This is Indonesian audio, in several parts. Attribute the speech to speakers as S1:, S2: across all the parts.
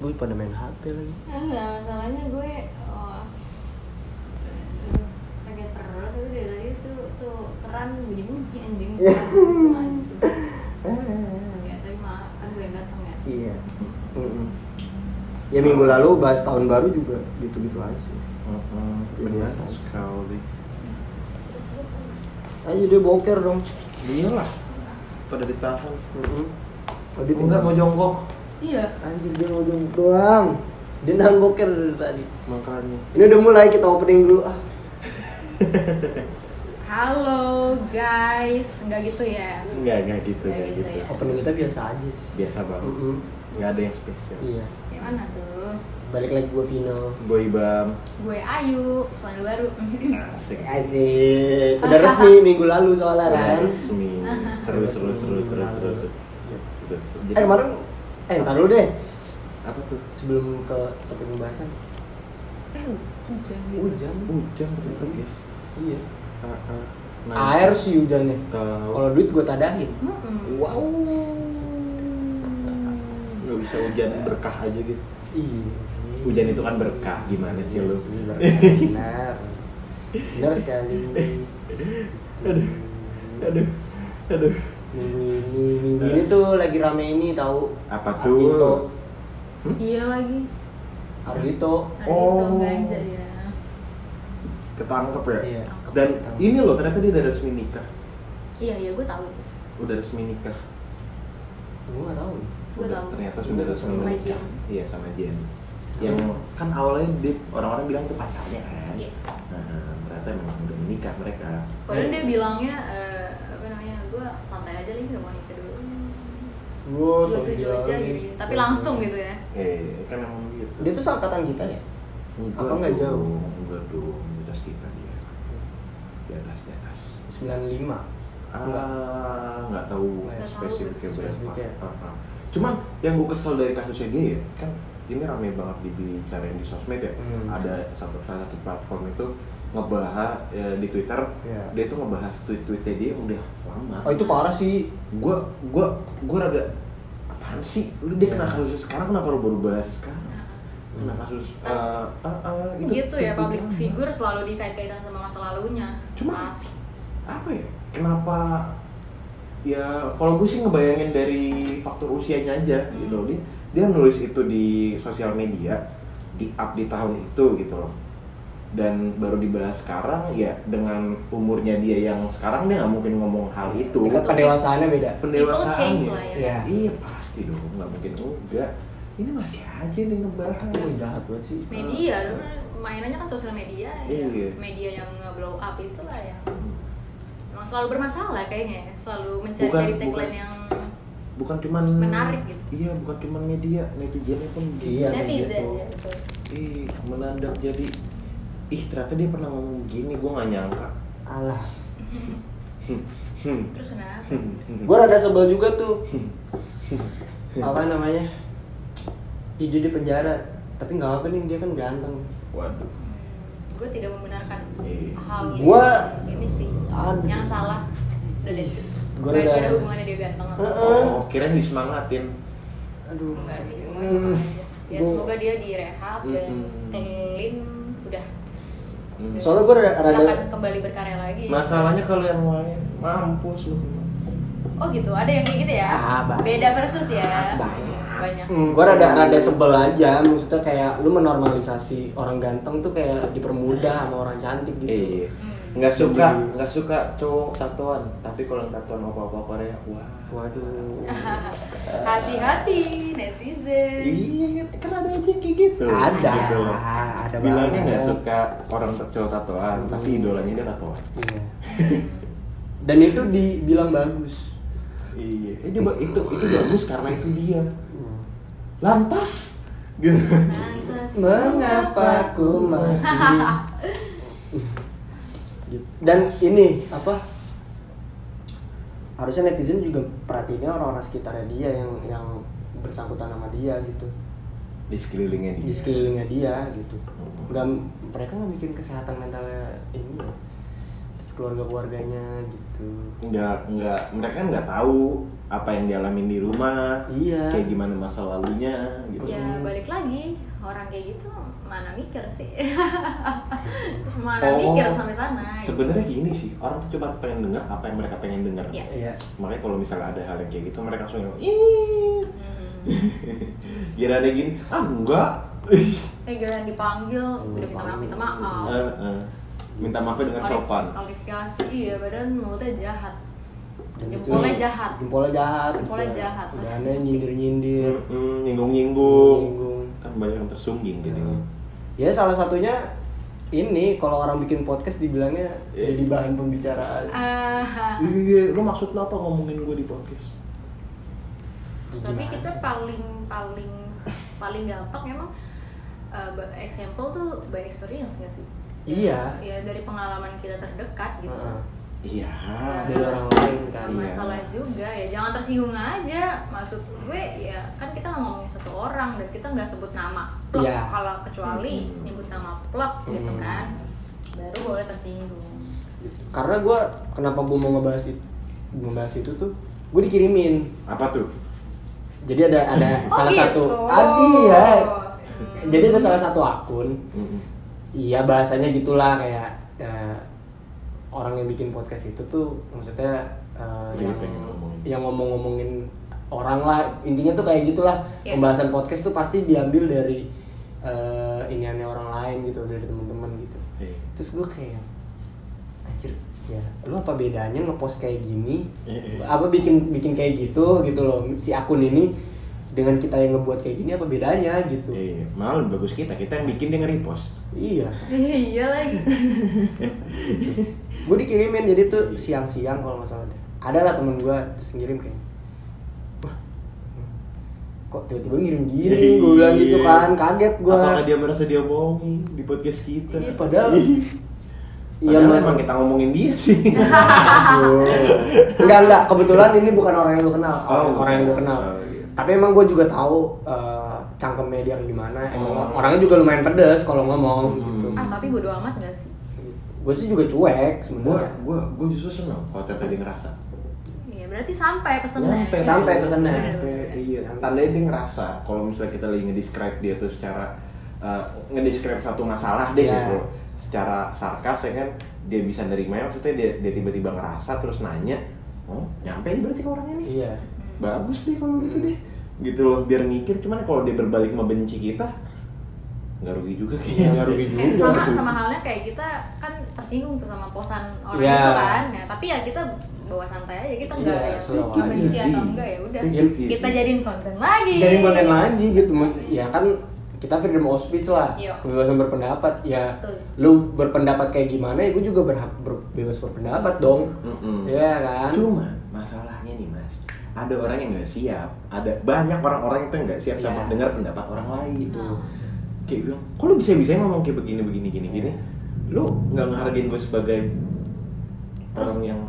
S1: Boy pada main HP lagi.
S2: Enggak, masalahnya gue oh, sakit perut itu dari tadi tuh tuh keran bunyi-bunyi anjing.
S1: Iya.
S2: Anjing. Ya tadi mah kan gue yang datang ya.
S1: Iya.
S3: Hmm.
S1: Mm-mm. Ya minggu lalu bahas tahun baru juga gitu-gitu aja sih.
S3: Heeh, benar
S1: Biasa.
S3: Mm-hmm. Iya, sekali.
S1: Ayo dia boker dong.
S3: Iyalah. Pada ditahan.
S1: Mm-mm. Tadi
S3: Enggak mau jongkok
S2: Iya.
S1: Anjir dia mau jongkok doang. Dia nahan boker dari tadi.
S3: makanya.
S1: Ini udah mulai kita opening dulu ah.
S2: Halo guys, enggak gitu ya.
S3: Enggak, enggak gitu,
S2: Enggak
S3: enggak
S2: gitu
S3: gitu.
S2: ya.
S1: Opening kita biasa aja sih.
S3: Biasa banget.
S1: Mm-mm.
S3: Enggak ada yang spesial.
S1: Iya.
S2: Yang mana tuh?
S1: Balik lagi gue final.
S3: Gue Ibam.
S2: Gue Ayu, soalnya baru.
S3: Asik.
S1: Asik. Udah resmi minggu lalu soalnya Iya,
S3: Iya.
S1: kan.
S3: Resmi. Seru, seru, seru, seru, seru, seru. Seru, seru. Jadi-
S1: Eh kemarin eh entar dulu deh
S3: apa tuh?
S1: sebelum ke topik pembahasan.
S2: Eh, hujan gitu.
S1: Hujan.
S3: Hujan ternyata, guys. Nah,
S1: Iya.
S3: Heeh.
S1: Air sih hujannya.
S3: kalau
S1: Kalau duit gue tadahin.
S2: Mm-mm.
S3: wow. Enggak bisa hujan berkah aja gitu.
S1: Iya.
S3: Hujan itu kan berkah, gimana sih
S1: Iya
S3: lu?
S1: sih, berkah, Benar. Benar sekali.
S3: Aduh. Aduh. Aduh.
S1: Minggu ini, minggu ini tuh lagi rame ini tahu.
S3: Apa
S1: Arvito.
S3: tuh?
S2: Iya lagi.
S1: Arvito.
S2: Hari itu
S3: Oh.
S2: ganja dia.
S3: Ketangkep ya?
S1: Iya.
S3: Dan
S1: Ketangkep.
S3: ini loh, ternyata dia udah resmi nikah.
S2: Iya, iya gue tahu.
S3: Udah resmi nikah.
S1: Gue nggak tahu.
S2: Gue
S3: Udah,
S2: tahu.
S3: Ternyata sudah resmi
S2: Sama
S3: nikah.
S2: Jen.
S3: Iya sama Jenny. Yang kan awalnya dia orang-orang bilang tuh pacarnya kan.
S2: Iya.
S3: Nah, ternyata memang udah menikah mereka.
S2: Padahal
S3: Iya.
S2: dia bilangnya eh, apa namanya gue santai aja nih gak mau nikah dulu.
S1: Gue
S3: Oh,
S2: Gue tujuh aja gitu. Tapi langsung gitu ya.
S3: Eh, kan emang gitu.
S1: Dia tuh seangkatan kita ya. apa
S3: dong,
S1: nggak jauh?
S3: Enggak dong, di atas kita dia. Di atas, di atas.
S1: 95 Enggak.
S3: Ah, nggak tahu
S1: Nggak
S2: tahu.
S3: spesifiknya berapa.
S1: Spesifiknya.
S3: Ah, ah. Cuman yang gue kesel dari kasusnya dia ya, kan ini rame banget dibicarain di sosmed ya.
S1: Hmm.
S3: Ada satu salah satu platform itu ngebahas eh, di Twitter,
S1: Iya.
S3: dia tuh ngebahas tweet-tweetnya dia yang udah lama.
S1: Oh itu parah sih.
S3: Gue gue gue rada apaan sih? Lu dia
S1: Iya.
S3: kena kasusnya sekarang kenapa lu baru bahas sekarang? Kena
S1: Hmm.
S3: kasus eh,
S2: Harus-
S3: ah, ah, itu
S2: Nah, Gitu ya
S3: tweet-tweet
S2: public
S3: lama.
S2: figure selalu dikait-kaitan sama masa lalunya.
S3: Cuma-
S2: Pas.
S3: apa ya kenapa ya kalau gue sih ngebayangin dari faktor usianya aja
S2: Hmm.
S3: gitu dia dia nulis itu di sosial media di up di tahun itu gitu loh dan baru dibahas sekarang ya dengan umurnya dia yang sekarang dia nggak mungkin ngomong hal itu
S1: Tingkat pendewasaannya beda.
S2: People change lah
S3: pendewasaannya
S2: ya.
S1: Iya.
S3: iya pasti dong nggak mungkin enggak ini masih aja nih ngebahas
S1: Itu jahat banget sih.
S2: Media, lu kan mainannya kan sosial media ya.
S3: Iya.
S2: Media yang nge-blow up itulah ya. Emang selalu bermasalah kayaknya, ya.
S3: Bukan-
S2: selalu mencari-cari tagline
S3: bukan.
S2: yang
S3: bukan cuman
S2: Menarik gitu.
S3: iya bukan cuman media netizennya pun
S1: Iya, kayak
S2: netizen
S1: gitu.
S2: ya. betul.
S3: Ih, mendadak jadi ih ternyata dia pernah ngomong gini gue nggak nyangka
S1: Alah.
S3: hmm.
S2: Terus kenapa?
S1: Gue rada sebel juga tuh. Apa namanya? Ih, dia di penjara. Tapi nggak apa nih dia kan ganteng.
S3: waduh
S2: gue tidak membenarkan
S3: Iya.
S2: hal
S1: Gua-
S2: ini sih
S1: Aduh.
S2: yang salah udah deh
S1: Is,
S2: gue
S1: gua
S2: udah
S1: udah-
S2: ada hubungannya dia ganteng atau
S1: Heeh.
S3: oh kirain disemangatin
S1: Aduh.
S2: enggak sih semoga sama
S1: Hmm.
S2: aja ya
S1: Gua-
S2: semoga dia direhab dan
S3: Mm-mm.
S2: clean udah
S3: Hmm.
S1: Soalnya gua rada-
S2: Silakan
S1: rada-
S2: kembali berkarya lagi
S3: masalahnya kalau yang lain mampus lu
S2: oh gitu ada yang kayak gitu ya
S1: Ah, banyak. Ah,
S2: beda versus ya
S1: Banyak.
S2: banyak
S1: Hmm, gue rada rada sebel aja. Maksudnya kayak lu menormalisasi orang ganteng tuh kayak dipermudah sama orang cantik gitu.
S3: iya
S2: Hmm.
S3: nggak
S1: Jadi-
S3: suka nggak suka cowok tatoan tapi kalau yang tatoan apa apa Korea wah
S1: Waduh. Iya.
S2: Hmm. hati-hati netizen
S3: iya kan ada aja kayak gitu
S1: Ada.
S3: gitu loh.
S1: Ada
S3: bilangnya
S1: banget. Hmm.
S3: nggak suka orang cowok tatoan tapi idolanya dia tatoan
S1: Iya. Dan itu dibilang bagus.
S3: Iya, itu itu itu bagus karena itu dia.
S1: Hmm.
S3: Lantas gitu.
S2: Lantas,
S1: Mengapa ku masih Gitu. Dan ini apa? Harusnya netizen juga perhatiinnya orang-orang sekitarnya dia yang yang bersangkutan sama dia gitu.
S3: Di sekelilingnya
S1: Di
S3: dia.
S1: sekelilingnya dia gitu. Nggak, mereka nggak mikirin kesehatan mentalnya ini. ya. keluarga keluarganya gitu
S3: nggak nggak mereka kan nggak tahu apa yang dialamin di rumah
S1: Iya.
S3: kayak gimana masa lalunya gitu
S2: ya balik lagi orang kayak gitu mana mikir sih mana
S3: Oh.
S2: mikir sampai sana gitu.
S3: sebenarnya gini sih orang tuh cuma pengen dengar apa yang mereka pengen dengar
S2: Iya.
S1: iya
S3: makanya kalau misalnya ada hal yang kayak gitu mereka langsung yang ih
S2: Hmm.
S3: Gila ada gini ah enggak Ih.
S2: eh giliran dipanggil udah minta maaf minta maaf
S3: Eh, eh. minta maafnya dengan
S2: Kualif-
S3: sopan
S2: kualifikasi iya badan mulutnya jahat
S1: Dan itu-
S2: jempolnya jahat
S1: jempolnya jahat Iya.
S2: Jempolnya jahat.
S1: karena nyindir nyindir
S3: Mm, nyinggung-nyinggung
S1: Nyinggung.
S3: kan banyak yang tersungging jadinya
S1: ya salah satunya ini kalau orang bikin podcast dibilangnya
S3: Iya.
S1: jadi bahan pembicaraan
S2: Ah,
S3: Iya, lu maksud lu apa ngomongin gue di podcast?
S2: tapi
S1: Gimana?
S2: kita paling paling paling gampang memang uh, by example tuh by experience nggak sih
S1: Iya.
S2: ya dari pengalaman kita terdekat gitu
S1: Heeh.
S3: Iya.
S1: dari orang lain
S2: Gak
S1: kan
S3: Iya.
S2: masalah juga ya jangan tersinggung aja maksud gue ya kan kita nggak ngomongin satu orang dan kita nggak sebut nama plek
S1: Iya.
S2: kalau kecuali
S3: Hmm.
S2: nyebut nama plek gitu
S1: Hmm.
S2: kan baru boleh tersinggung
S1: Gitu. karena gue kenapa gue mau ngebahas itu ngebahas itu tuh gue dikirimin
S3: Apa tuh?
S1: jadi ada ada
S2: Oh,
S1: salah
S2: gitu.
S1: satu adi ya
S2: Hmm.
S1: jadi ada salah satu akun
S3: Mm-mm.
S1: iya bahasanya gitulah kayak eh, orang yang bikin podcast itu tuh maksudnya eh,
S3: Jadi
S1: yang
S3: pengen ngomongin.
S1: yang ngomong-ngomongin orang lah intinya tuh kayak gitulah
S2: Iya.
S1: pembahasan podcast tuh pasti diambil dari eh, iniannya orang lain gitu dari teman-teman gitu
S3: Iya.
S1: terus gue kayak anjir ya lu apa bedanya ngepost kayak gini
S3: Iya, iya.
S1: apa bikin bikin kayak gitu gitu loh si akun ini dengan kita yang ngebuat kayak gini apa bedanya gitu
S3: Iya, malah lebih bagus kita. Kita yang bikin dia nge-repost.
S1: iya
S2: iya lagi
S1: gue dikirimin jadi tuh siang-siang kalau nggak salah deh ada lah temen gue terus ngirim kayak wah kok tiba-tiba ngirim gini gue bilang gitu
S3: Iya.
S1: kan kaget gue
S3: Apakah dia merasa dia bohongin di podcast kita?
S1: Iya, padahal-
S3: Iya,
S1: iya mas
S3: emang kita ngomongin dia sih.
S1: Aduh. enggak enggak kebetulan ini bukan orang yang gue kenal orang,
S3: Oh.
S1: orang yang gue kenal
S3: Oh, iya.
S1: tapi emang gue juga tahu eh, cangkemnya dia kayak gimana emang
S3: Oh.
S1: orangnya juga lumayan pedes kalau ngomong
S3: Hmm.
S1: gitu
S2: ah tapi bodo amat nggak sih
S1: gue sih juga cuek
S3: Gue
S1: sebenarnya
S3: gue gue justru seneng kalau tiap kali ngerasa.
S2: Iya, berarti sampai pesennya.
S1: Sampai, sampai pesennya.
S3: Sampai, iya. Tandanya dia ngerasa kalau misalnya kita lagi ngedescribe dia tuh secara eh, ngedescribe satu masalah deh
S1: Iya.
S3: gitu. Secara sarkas ya kan dia bisa nerima maksudnya dia dia tiba-tiba ngerasa terus nanya, "Oh, nyampe nih berarti ke orangnya nih."
S1: iya
S3: Bagus deh kalau gitu deh. Gitu loh biar mikir cuman kalau dia berbalik membenci kita nggak rugi juga kayaknya.
S1: Iya, nggak rugi juga.
S2: Eh, sama sama halnya kayak kita kan tersinggung tuh sama posan orang
S1: Iya.
S2: itu kan. Nah, tapi ya kita bawa santai aja kita ya, enggak
S1: Iya,
S2: yang
S1: slow
S2: kita
S1: aja.
S2: benci atau enggak ya udah.
S3: Take it easy.
S2: Kita jadiin konten lagi.
S1: jadi konten lagi gitu mas ya kan kita freedom of speech lah
S2: Iya.
S1: kebebasan berpendapat ya
S2: Betul.
S1: lu berpendapat kayak gimana ya gue juga berhak ber- bebas berpendapat dong
S3: Mm-mm.
S1: Iya kan
S3: Cuma masalahnya nih mas, ada orang yang nggak siap, ada banyak orang-orang itu yang nggak siap sama
S1: Iya.
S3: dengar pendapat orang lain gitu.
S2: Nah.
S3: Kayak bilang, kok lu bisa bisa ngomong kayak begini begini gini gini,
S1: Ya.
S3: lu nggak ngehargain gue sebagai orang yang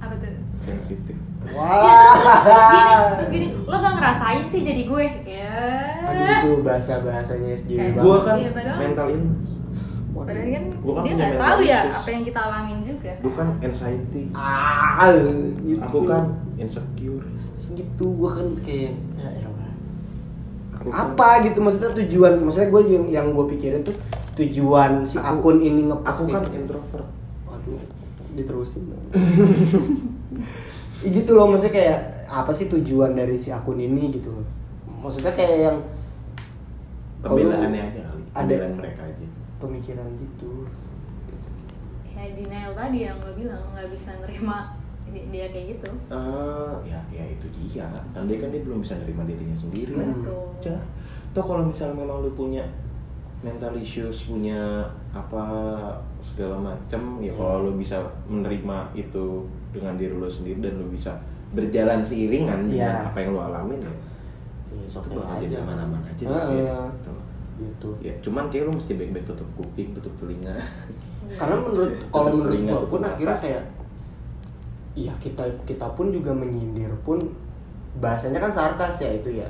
S2: Apa tuh? Iya,
S3: sensitif.
S1: Ah. wah
S2: Terus gini,
S1: Iya,
S2: terus gini, lo gak ngerasain sih jadi gue. Ya.
S1: aduh itu bahasa bahasanya SJW
S2: Kayak
S1: banget
S3: Gue kan
S2: Iya, padahal-
S3: mental illness,
S1: Waduh.
S2: Padahal kan
S3: Gua kan
S2: dia
S3: punya
S2: nggak
S3: mental
S2: tahu ya
S3: issues.
S2: apa yang kita alamin juga.
S3: lu kan anxiety,
S2: kan-
S1: ah gitu.
S3: aku kan insecure.
S1: segitu gue kan kayak ya elah.
S3: Aku kan-
S1: apa gitu maksudnya tujuan maksudnya gue yang yang gue pikirin tuh tujuan si
S3: Aku-
S1: akun ini ngepost
S3: Aku kan
S1: kayak gitu.
S3: introvert.
S1: Waduh, diterusin. Ih, gitu loh, maksudnya kayak apa sih tujuan dari si akun ini gitu loh. Maksudnya kayak yang
S3: Pembelaannya aja kali,
S1: Ada.
S3: pembelaan mereka aja.
S1: pemikiran gitu.
S2: Ya denial tadi yang lo bilang nggak bisa nerima di- dia kayak gitu.
S3: eh ya ya itu dia kan dia kan dia belum bisa nerima dirinya
S1: Hmm.
S3: sendiri lah
S2: Betul.
S1: Iya.
S3: Cah. toh kalau misalnya memang lu punya mental issues punya apa segala macam ya kalau lu bisa menerima itu dengan diri lu sendiri dan lu bisa berjalan seiringan dengan
S1: Iya.
S3: apa yang lu alamin ya
S1: Ya,
S3: itu
S1: sok
S3: bakal jadi
S1: aja.
S3: aman-aman aja
S1: Ah,
S3: gitu ya.
S1: iya.
S3: Gitu.
S1: Gitu.
S3: ya cuman kayak lu mesti baik-baik tutup kuping tutup telinga
S1: Karena menurut
S3: Tutup
S1: kalau menurut
S3: telinga,
S1: gua
S3: tutup
S1: pun
S3: mata.
S1: akhirnya kayak iya kita kita pun juga menyindir pun bahasanya kan sarkas ya itu ya.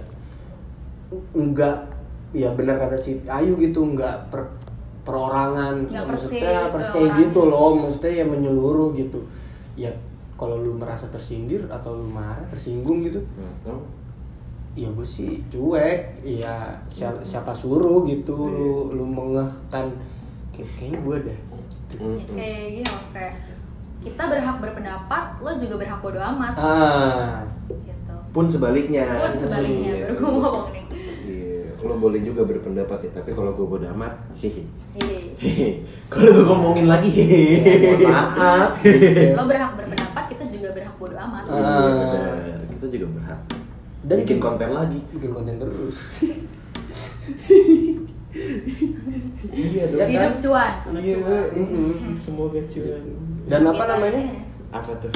S1: Enggak ya benar kata si Ayu gitu, enggak per- perorangan
S2: Nggak perse
S1: maksudnya perse
S2: ke orang.
S1: gitu loh maksudnya ya menyeluruh gitu ya kalau lu merasa tersindir atau lu marah tersinggung gitu
S4: Hmm.
S1: ya gue sih cuek ya siapa, siapa suruh gitu lu lu mengehkan kayak, kayaknya gue dah gitu.
S4: Hmm.
S2: kayak gini oke kita berhak berpendapat lo juga berhak bodo amat
S1: ah
S2: gitu
S3: pun sebaliknya
S2: pun sebaliknya
S3: Iya.
S2: baru gue ngomong nih
S3: Iya, lo boleh juga berpendapat ya, tapi kalau gue bodo amat, hehe.
S2: Iya.
S3: Hehe. Kalau gue ngomongin lagi, hehe.
S1: mohon maaf gitu.
S2: lo berhak berpendapat kita juga berhak bodo amat
S1: Ah.
S3: Iya, benar. Kita juga berhak.
S1: dan
S3: bikin
S1: kita-
S3: konten lagi.
S1: bikin konten terus
S3: Iya,
S1: Ya kan?
S2: hidup cuan
S3: Iya, mm-mm. semoga cuan.
S1: dan apa namanya
S3: apa tuh?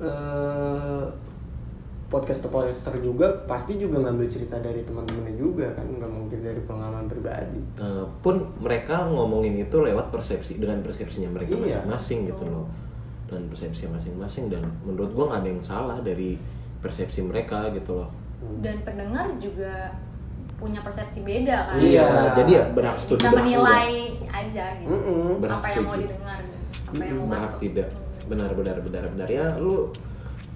S1: eh podcaster podcaster juga pasti juga ngambil cerita dari teman-temannya juga kan nggak mungkin dari pengalaman pribadi
S3: Eh, pun mereka ngomongin itu lewat persepsi dengan persepsinya mereka
S1: Iya.
S3: masing-masing gitu loh dan persepsi masing-masing dan menurut gua nggak ada yang salah dari persepsi mereka gitu loh
S2: dan pendengar juga punya persepsi beda kan
S1: Iya.
S3: jadi ya berhak studi
S2: bisa
S3: berhak
S2: menilai aja gitu
S1: Mm-mm.
S3: Berhak
S2: apa yang mau
S3: setuju.
S2: didengar gitu. apa yang mau
S3: tidak
S2: masuk
S3: tidak
S2: Hmm.
S3: benar benar benar benar ya lu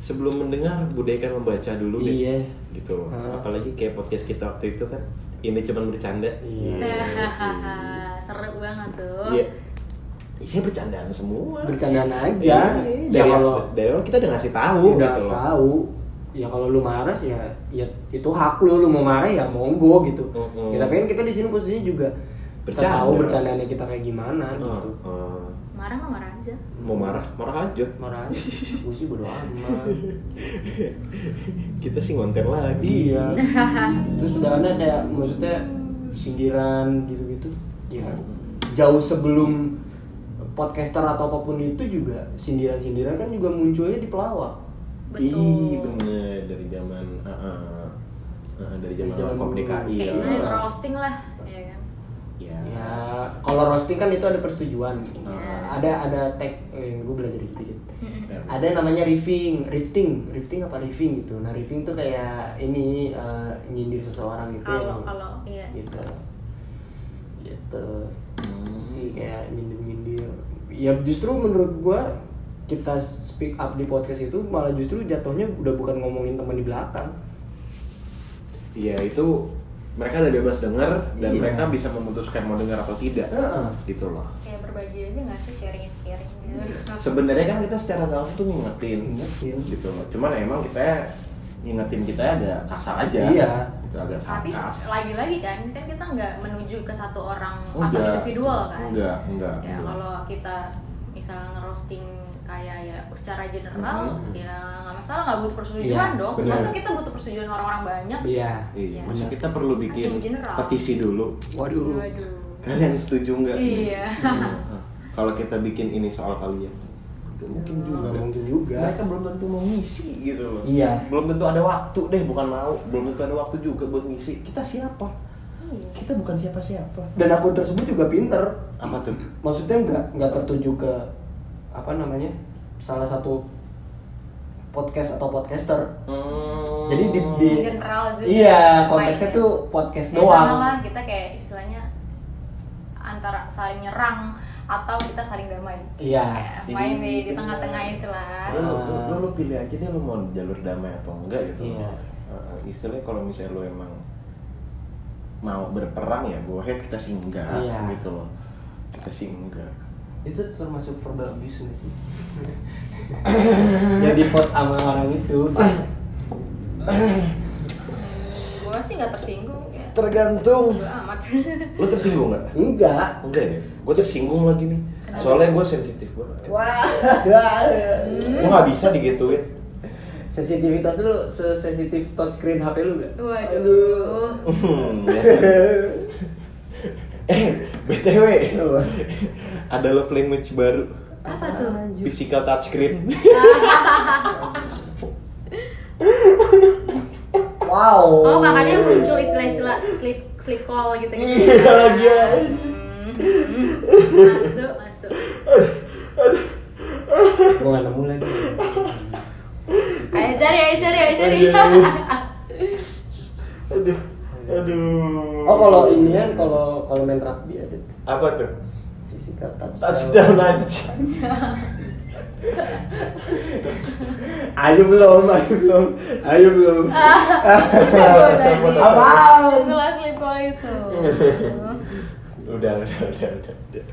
S3: sebelum mendengar budayakan membaca dulu deh
S1: Iya.
S3: gitu loh
S1: Ha.
S3: apalagi kayak podcast kita waktu itu kan ini cuman bercanda
S1: Iya.
S2: Hahaha, seru banget tuh
S3: iya isinya bercandaan semua
S1: bercandaan aja
S3: Iya,
S1: ya
S3: dari
S1: kalau
S3: dari awal kita udah ngasih tahu
S1: udah
S3: gitu loh
S1: tahu ya kalau lu marah ya ya itu hak lu lu mau marah ya monggo gitu
S3: Mm-mm.
S1: ya, tapi kan kita di sini posisinya juga kita
S3: Bercanda.
S1: tahu bercandanya kita kayak gimana gitu
S3: Eh, eh,
S2: marah mah marah aja
S3: mau marah marah aja
S1: marah gue sih bodo amat
S3: kita sih ngonten lagi
S1: iya terus udah ada kayak maksudnya sindiran gitu gitu ya jauh sebelum podcaster atau apapun itu juga sindiran-sindiran kan juga munculnya di pelawak
S2: betul
S3: Ih, bener dari zaman eh, eh, eh, dari zaman
S1: Dari zaman
S3: Pop
S1: dulu.
S3: DKI
S2: kayak
S3: ya.
S2: istilahnya roasting lah ya kan
S3: Ya.
S1: ya kalau roasting kan itu ada persetujuan gitu.
S3: Ah.
S1: ada ada tag eh, gue belajar dikit-dikit
S3: Ya.
S1: ada yang namanya riffing rifting rifting apa riffing gitu nah riffing tuh kayak ini eh, nyindir seseorang gitu
S2: kalau
S1: emang.
S2: kalau iya
S1: gitu gitu
S3: Hmm.
S1: sih kayak nyindir nyindir ya justru menurut gua kita speak up di podcast itu malah justru jatuhnya udah bukan ngomongin teman di belakang
S3: Iya itu mereka udah bebas denger dan
S1: Iya.
S3: mereka bisa memutuskan mau denger atau tidak.
S1: Heeh.
S3: Gitu loh.
S2: kayak berbagi aja nggak sih sharing is caring gitu.
S3: Sebenarnya kan kita secara nggak langsung tuh ngingetin,
S1: Ngingetin.
S3: gitu loh. Cuman emang kita ngingetin kita ya agak kasar aja.
S1: Iya.
S3: Gitu, agak
S2: tapi
S3: sarkas.
S2: lagi-lagi kan kan kita nggak menuju ke satu orang atau
S3: Enggak.
S2: individual kan
S3: Enggak, enggak.
S2: ya
S3: enggak.
S2: kalau kita misal ngerosting kayak ya secara general
S3: Mhm.
S2: ya nggak masalah nggak butuh persetujuan
S1: Iya,
S2: dong
S3: benar.
S2: masa kita butuh persetujuan orang-orang banyak
S1: iya
S3: Iya,
S2: Ya.
S3: masa kita perlu bikin
S2: Acting general.
S3: petisi dulu.
S1: waduh
S2: waduh
S3: Kalian setuju nggak?
S2: Iya.
S3: Nah, Kalau kita bikin ini soal kalian, Nggak mungkin juga.
S1: nggak mungkin juga
S3: Mereka belum tentu mau ngisi gitu loh.
S1: Iya.
S3: Belum tentu ada waktu deh, bukan mau. Belum tentu ada waktu juga buat ngisi. Kita siapa?
S2: Iya.
S3: Kita bukan siapa-siapa.
S1: dan akun tersebut juga pinter
S3: Apa tuh?
S1: maksudnya nggak nggak tertuju ke apa namanya salah satu podcast atau podcaster
S3: Hmm.
S1: Jadi di- di-
S2: general juga
S1: iya konteksnya
S2: Baiknya.
S1: tuh podcast
S2: ya sama
S1: doang
S2: lah kita kayak istilahnya antara saling nyerang atau kita saling damai
S1: iya
S2: Kayak main di, di
S3: Iya.
S2: tengah-tengah itu lah
S3: Lu, lu, lu- lu pilih aja deh lu mau jalur damai atau enggak gitu.
S1: Iya.
S3: Uh, istilahnya kalau misalnya lu emang mau berperang ya go ahead kita sih enggak
S1: Iya.
S3: gitu loh. Kita sih enggak.
S1: itu termasuk verbal abuse nggak sih? yang di post sama orang itu
S2: gue sih nggak tersinggung ya
S3: Tergantung.
S2: gue amat
S3: Lu tersinggung enggak?
S1: enggak
S3: Enggak ya? Gue tersinggung lagi nih. Soalnya gue sensitif banget.
S1: wah
S3: Gue nggak bisa digituin.
S1: sensitivitas lu sesensitif touchscreen HP lu gak?
S2: waduh
S3: Hmm, ya. eh, btw,
S1: Apa?
S3: ada love language baru.
S2: apa tuh
S1: Iya.
S3: Physical touchscreen.
S1: wow
S2: oh makanya
S1: iya.
S2: muncul istilah-istilah sleep sleep call gitu gitu
S3: Iya, guys.
S2: Hmm, masuk masuk
S1: gua nggak nemu lagi
S2: ayo
S3: Iya,
S2: cari ayo cari ayo cari
S3: aduh, aduh.
S1: Oh kalau ini kan kalau kalau main rugby ada tuh
S3: apa tuh?
S1: physical touchdown.
S3: Touchdown aja.
S1: Ayo belum, ayo belum, ayo belum. Apaan?
S2: Kelas lip kalau itu.
S3: Udah, udah, udah, udah. udah.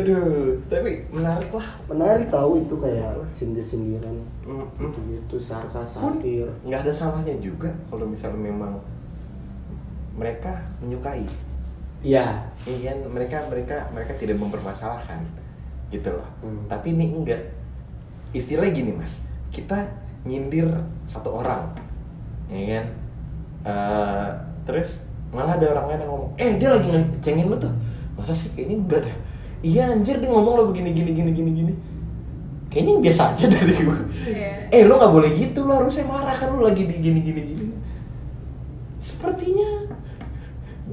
S3: Aduh, tapi menarik lah.
S1: Menarik tahu itu kayak sindir-sindiran
S3: Mm-mm.
S1: gitu-gitu sarkas
S3: Pun
S1: satir.
S3: nggak ada salahnya juga kalau misalnya memang mereka menyukai.
S1: Iya.
S3: Iya, kan? mereka mereka mereka tidak mempermasalahkan gitu loh.
S1: Hmm.
S3: Tapi ini enggak. Istilahnya gini mas, kita nyindir satu orang, ya kan? Eh, terus malah ada orang lain yang ngomong, eh dia lagi ngecengin lu tuh. Masa sih kayaknya enggak dah. Iya anjir dia ngomong lo begini gini gini gini gini. Kayaknya yang biasa aja dari gue.
S2: Iya.
S3: Eh lo nggak boleh gitu lo harusnya marah kan lo lagi di gini gini gini. Sepertinya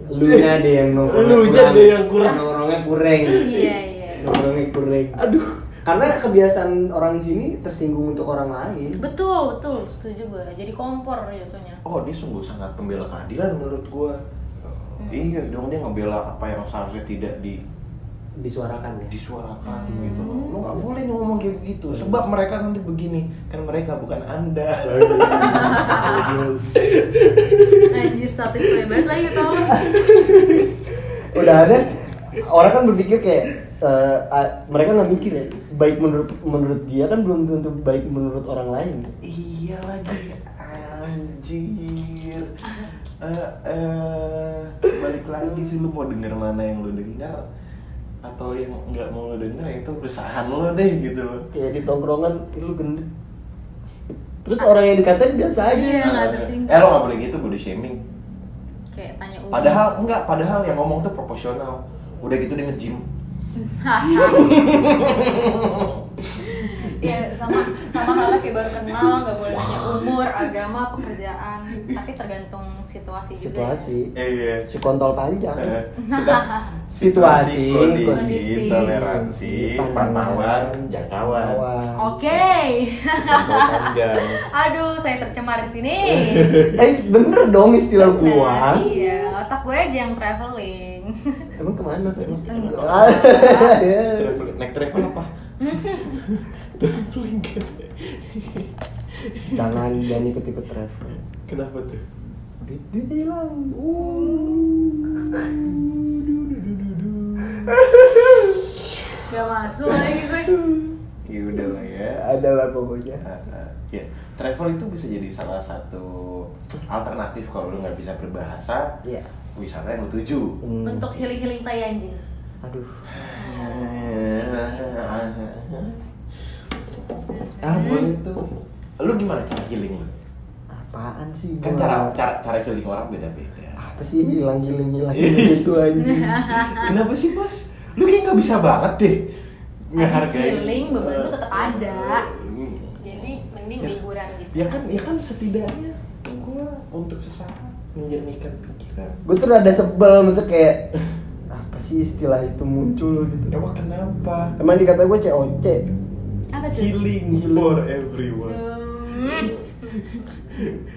S1: Lu nya ada yang nongkrongnya
S3: Lu-nya
S1: kurang.
S3: ada yang kurang.
S1: Nongkrongnya kurang.
S2: Iya iya.
S1: Nongkrongnya kurang.
S3: aduh
S1: Karena kebiasaan orang sini tersinggung untuk orang lain.
S2: Betul betul setuju gue. Jadi kompor jatuhnya.
S3: oh dia sungguh sangat pembela keadilan menurut gua
S2: Hmm.
S3: iya dong dia ngebela apa yang seharusnya tidak di,
S1: Disuarakan ya.
S3: disuarakan
S2: Hmm.
S3: gitu loh lo nggak boleh ngomong kayak begitu sebab mereka nanti begini kan mereka bukan anda
S2: Anjir satisfy banget lagi tau.
S1: udah ada orang kan berpikir kayak eh, ah, mereka nggak mikir ya baik menurut menurut dia kan belum tentu baik menurut orang lain
S3: iya lagi anjir Eh, eh, balik lagi sih lu mau denger mana yang lu dengar atau yang nggak mau lu denger ya itu keresahan lo deh gitu loh
S1: kayak di tongkrongan "Ih, lu gendut terus orang yang dikatain biasa aja
S2: Iya, nggak tersinggung.
S3: eh lo nggak boleh gitu body shaming
S2: Kayak tanya umur.
S3: Padahal enggak, padahal yang ngomong tuh proporsional. Udah gitu dia nge-gym.
S2: ya sama sama halnya kayak baru kenal nggak boleh nanya umur agama pekerjaan tapi tergantung situasi, ya.
S1: situasi
S3: Iya.
S1: si kontol
S2: Iya.
S1: panjang Situasi,
S3: situasi,
S2: kondisi.
S3: kondisi, toleransi, pantauan, jangkauan,
S2: juga ya.
S1: Jangkauan.
S2: oke
S3: kontrol panjang.
S2: aduh saya tercemar di sini
S1: eh bener dong istilah
S2: Nah,
S1: gua
S2: iya otak gue aja yang traveling
S1: emang kemana tuh
S3: Emang
S2: Enggak.
S1: Ah, iya.
S3: Travel- Naik travel apa? Traveling kan?
S1: jangan jangan ikut ikut travel
S3: Kenapa tuh?
S1: duit duit hilang uh.
S2: gak masuk lagi gue
S3: Ya udah lah ya.
S1: adalah pokoknya
S3: Ah, ah. Ya, travel itu bisa jadi salah satu alternatif kalau lu nggak bisa berbahasa
S1: Iya.
S3: wisata yang lu tuju.
S1: Hmm.
S2: untuk healing healing tai anjing
S1: Aduh.
S3: Ah boleh tuh. Lu gimana cara healing lu?
S1: Apaan sih?
S3: Kan
S1: gua-
S3: cara cara cara healing orang beda-beda.
S1: apa sih hilang hilang hilang
S3: Iya.
S1: gitu anjing.
S3: Kenapa sih mas? Lu kayak nggak bisa banget deh ngehargain.
S2: Habis healing, beban lu tetap ada.
S3: Hmm.
S2: jadi mending
S3: Ya.
S2: liburan gitu
S3: Ya kan ya kan setidaknya gua untuk sesaat menjernihkan pikiran.
S1: Gue tuh rada sebel masa kayak apa sih istilah itu muncul gitu.
S3: Emang Ya kenapa?
S1: Emang dikata gue COC.
S2: apa tuh
S3: Healing for everyone.
S2: Hmm.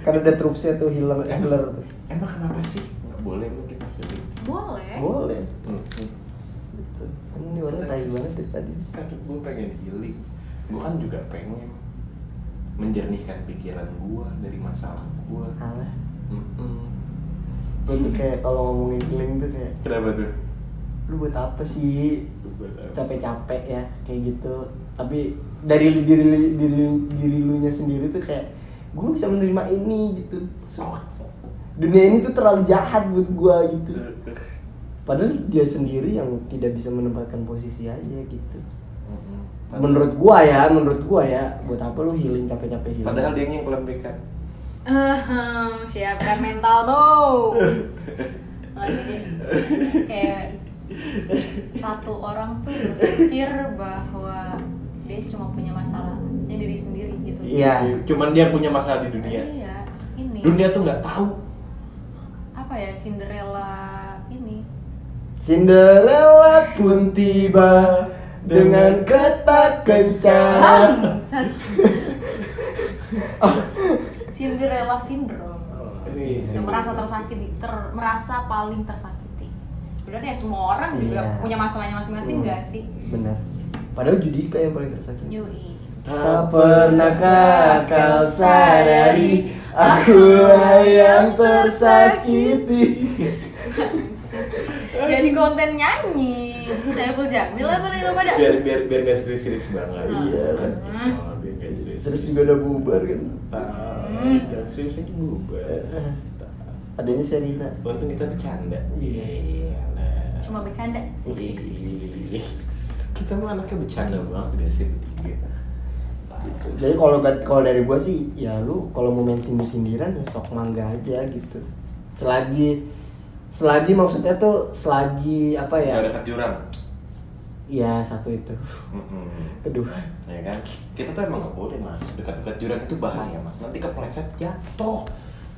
S1: Kan ada trupsnya tuh healer healer tuh.
S3: Emang kenapa sih? Nggak boleh lu kita healing.
S2: boleh
S1: Boleh.
S3: Hmm.
S1: Gitu. Ini orang tai banget dari tadi.
S3: kan gue pengen healing gue kan juga pengen menjernihkan pikiran gue dari masalah Hmm, gue
S1: Alah. Gue tuh kayak kalau ngomongin healing tuh kayak
S3: kenapa tuh
S1: lu buat apa sih
S3: Buat apa?
S1: capek-capek ya kayak gitu tapi dari li- diri li- diri diri lu nya sendiri tuh kayak gue bisa menerima ini gitu So- dunia ini tuh terlalu jahat buat gue gitu padahal dia sendiri yang tidak bisa menempatkan posisi aja gitu menurut gua ya menurut gua ya buat apa lu healing capek-capek healing
S3: padahal dia yang kelembekan
S2: Ahem, siapkan mental dong. Maksudnya kayak satu orang tuh berpikir bahwa dia cuma punya masalahnya diri sendiri gitu.
S1: Iya.
S3: cuman dia punya masalah di dunia
S2: Iya, ini
S3: dunia tuh nggak tahu
S2: apa ya Cinderella ini.
S1: Cinderella pun tiba dengan
S2: Ah,
S1: kereta kencang
S2: Bangsat. Cinderella syndrome.
S5: Ini-
S2: yang merasa tersakiti ter- merasa paling tersakiti sebenarnya semua orang juga
S1: Iya.
S2: punya masalahnya masing-masing
S1: Hmm.
S2: nggak sih
S1: benar padahal Judika yang paling tersakiti
S2: Yui
S1: Tak pernahkah kau sadari akulah yang tersakiti.
S2: jadi konten nyanyi saya pun jamil apa nih lo pada
S3: biar biar biar nggak serius-serius banget
S1: Iya.
S3: Oh,
S2: Hmm.
S3: biar nggak
S1: Serius juga udah bubar kan?
S3: Tahu, jangan serius aja bubar.
S1: Eh,
S3: Tahu.
S1: Adanya Serina.
S3: Untung kita bercanda.
S1: Iya.
S3: Iyalah.
S2: cuma bercanda sik sik sik sik sik, sik.
S3: Ih, Kita mah anaknya bercanda banget dari sini
S1: Iya.
S3: tiga.
S1: Jadi kalau kalau dari gua sih ya lu kalau mau main sindir sindiran ya sok mangga aja gitu. Selagi selagi maksudnya tuh selagi apa
S3: kan?
S1: ya?
S5: Gak dekat jurang.
S1: Ya satu itu.
S5: Mm-mm.
S1: Kedua.
S5: Ya kan? Kita tuh emang gak boleh mas. Dekat-dekat jurang itu bahaya mas. Nanti kepleset jatuh.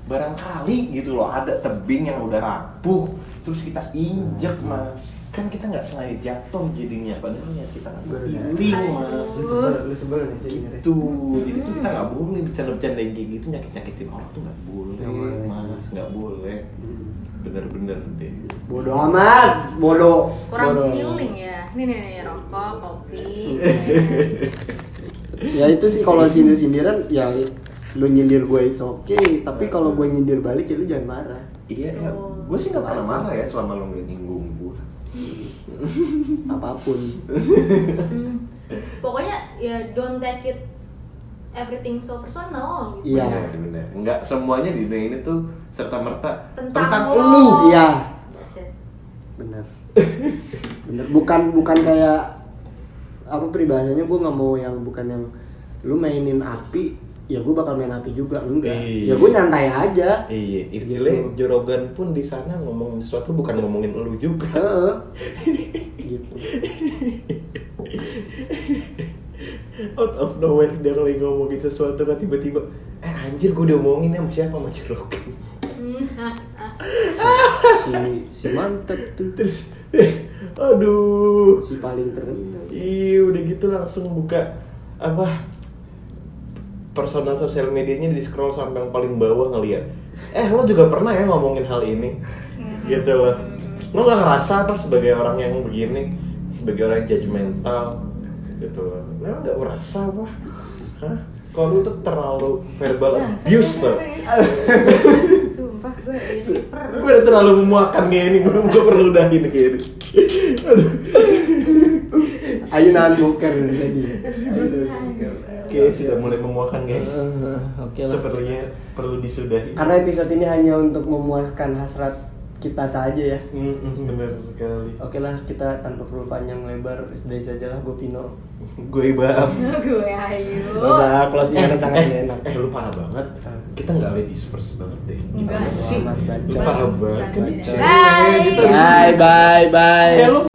S5: Barangkali gitu loh ada tebing yang udah rapuh. Terus kita injek
S1: Hmm.
S5: mas. Kan kita nggak sengaja jatuh jadinya. Padahal ya kita nggak berguling mas.
S1: Lu sebel, lu sebel nih sih dengerin?
S5: Gitu. Jadi tuh kita nggak boleh bercanda-bercanda yang kayak gitu nyakit-nyakitin orang tuh nggak boleh
S1: Nggak boleh.
S5: mas. Nggak boleh. Bener-bener deh.
S1: Bodoh amat, bodoh.
S2: kurang
S1: bodoh.
S2: chilling ya ini nih nih rokok kopi
S1: ya itu sih kalau sindir sindiran ya lu nyindir gue it's okay tapi kalau gue nyindir balik ya lu jangan marah
S5: Iya, ya.
S2: Betul.
S5: gue sih nggak pernah marah ya selama lo nggak nyinggung gue.
S1: apapun
S2: Hmm. pokoknya ya don't take it everything so personal gitu
S1: Iya.
S5: benar. Nggak semuanya di dunia ini tuh serta merta
S2: Tentang
S5: tentang
S2: lo.
S5: lu.
S1: iya
S2: That's it.
S1: bener bener bukan bukan kayak apa peribahasanya gue nggak mau yang bukan yang lu mainin api ya gue bakal main api juga enggak
S3: Iya.
S1: ya gue nyantai aja
S3: Iya, istilahnya
S5: Gitu.
S3: jorogan pun di sana ngomongin sesuatu bukan ngomongin lu juga.
S1: Heeh. gitu
S3: Out of nowhere dia lagi ngomongin sesuatu kan tiba-tiba eh anjir gue diomongin sama siapa sama jorogan.
S2: Hmm.
S1: si si mantep tuh
S3: Terus eh, aduh.
S1: si paling terkenal
S3: Iya udah gitu langsung buka apa personal sosial medianya di scroll sampai yang paling bawah ngeliat eh lo juga pernah ya ngomongin hal ini gitu loh lo gak ngerasa apa sebagai orang yang begini sebagai orang yang judgmental gitu loh lo gak merasa apa Hah? kalau lu tuh terlalu verbal
S2: Bangsat
S3: abuse
S2: gue
S3: tuh
S2: ini. Sumpah gue iya. ini
S3: gue udah terlalu memuakan kayak ini gue gue perlu dahin kayak ini Aduh.
S1: ayo nahan boker tadi ayo nahan boker.
S3: oke sudah mulai memuakan guys
S1: Eh, oke lah.
S3: Sepertinya perlu disudahi.
S1: Karena episode ini hanya untuk memuaskan hasrat kita saja ya.
S3: Mm, benar sekali.
S1: Oke lah, kita tanpa perlu panjang lebar, sudah sajalah gue Pino.
S3: Gue iba.
S2: gue ayu
S1: Udah, closingannya sangat tidak enak.
S3: Oh. eh, lu parah banget. Kita nggak ladies first banget deh.
S2: Enggak
S3: Gimana
S1: sih.
S3: sih? Lu parah banget. Kan
S2: Bangsat.
S3: ini cewek.
S2: Bye.
S3: Kita-
S1: Bye, bye, bye.
S3: Eh, lu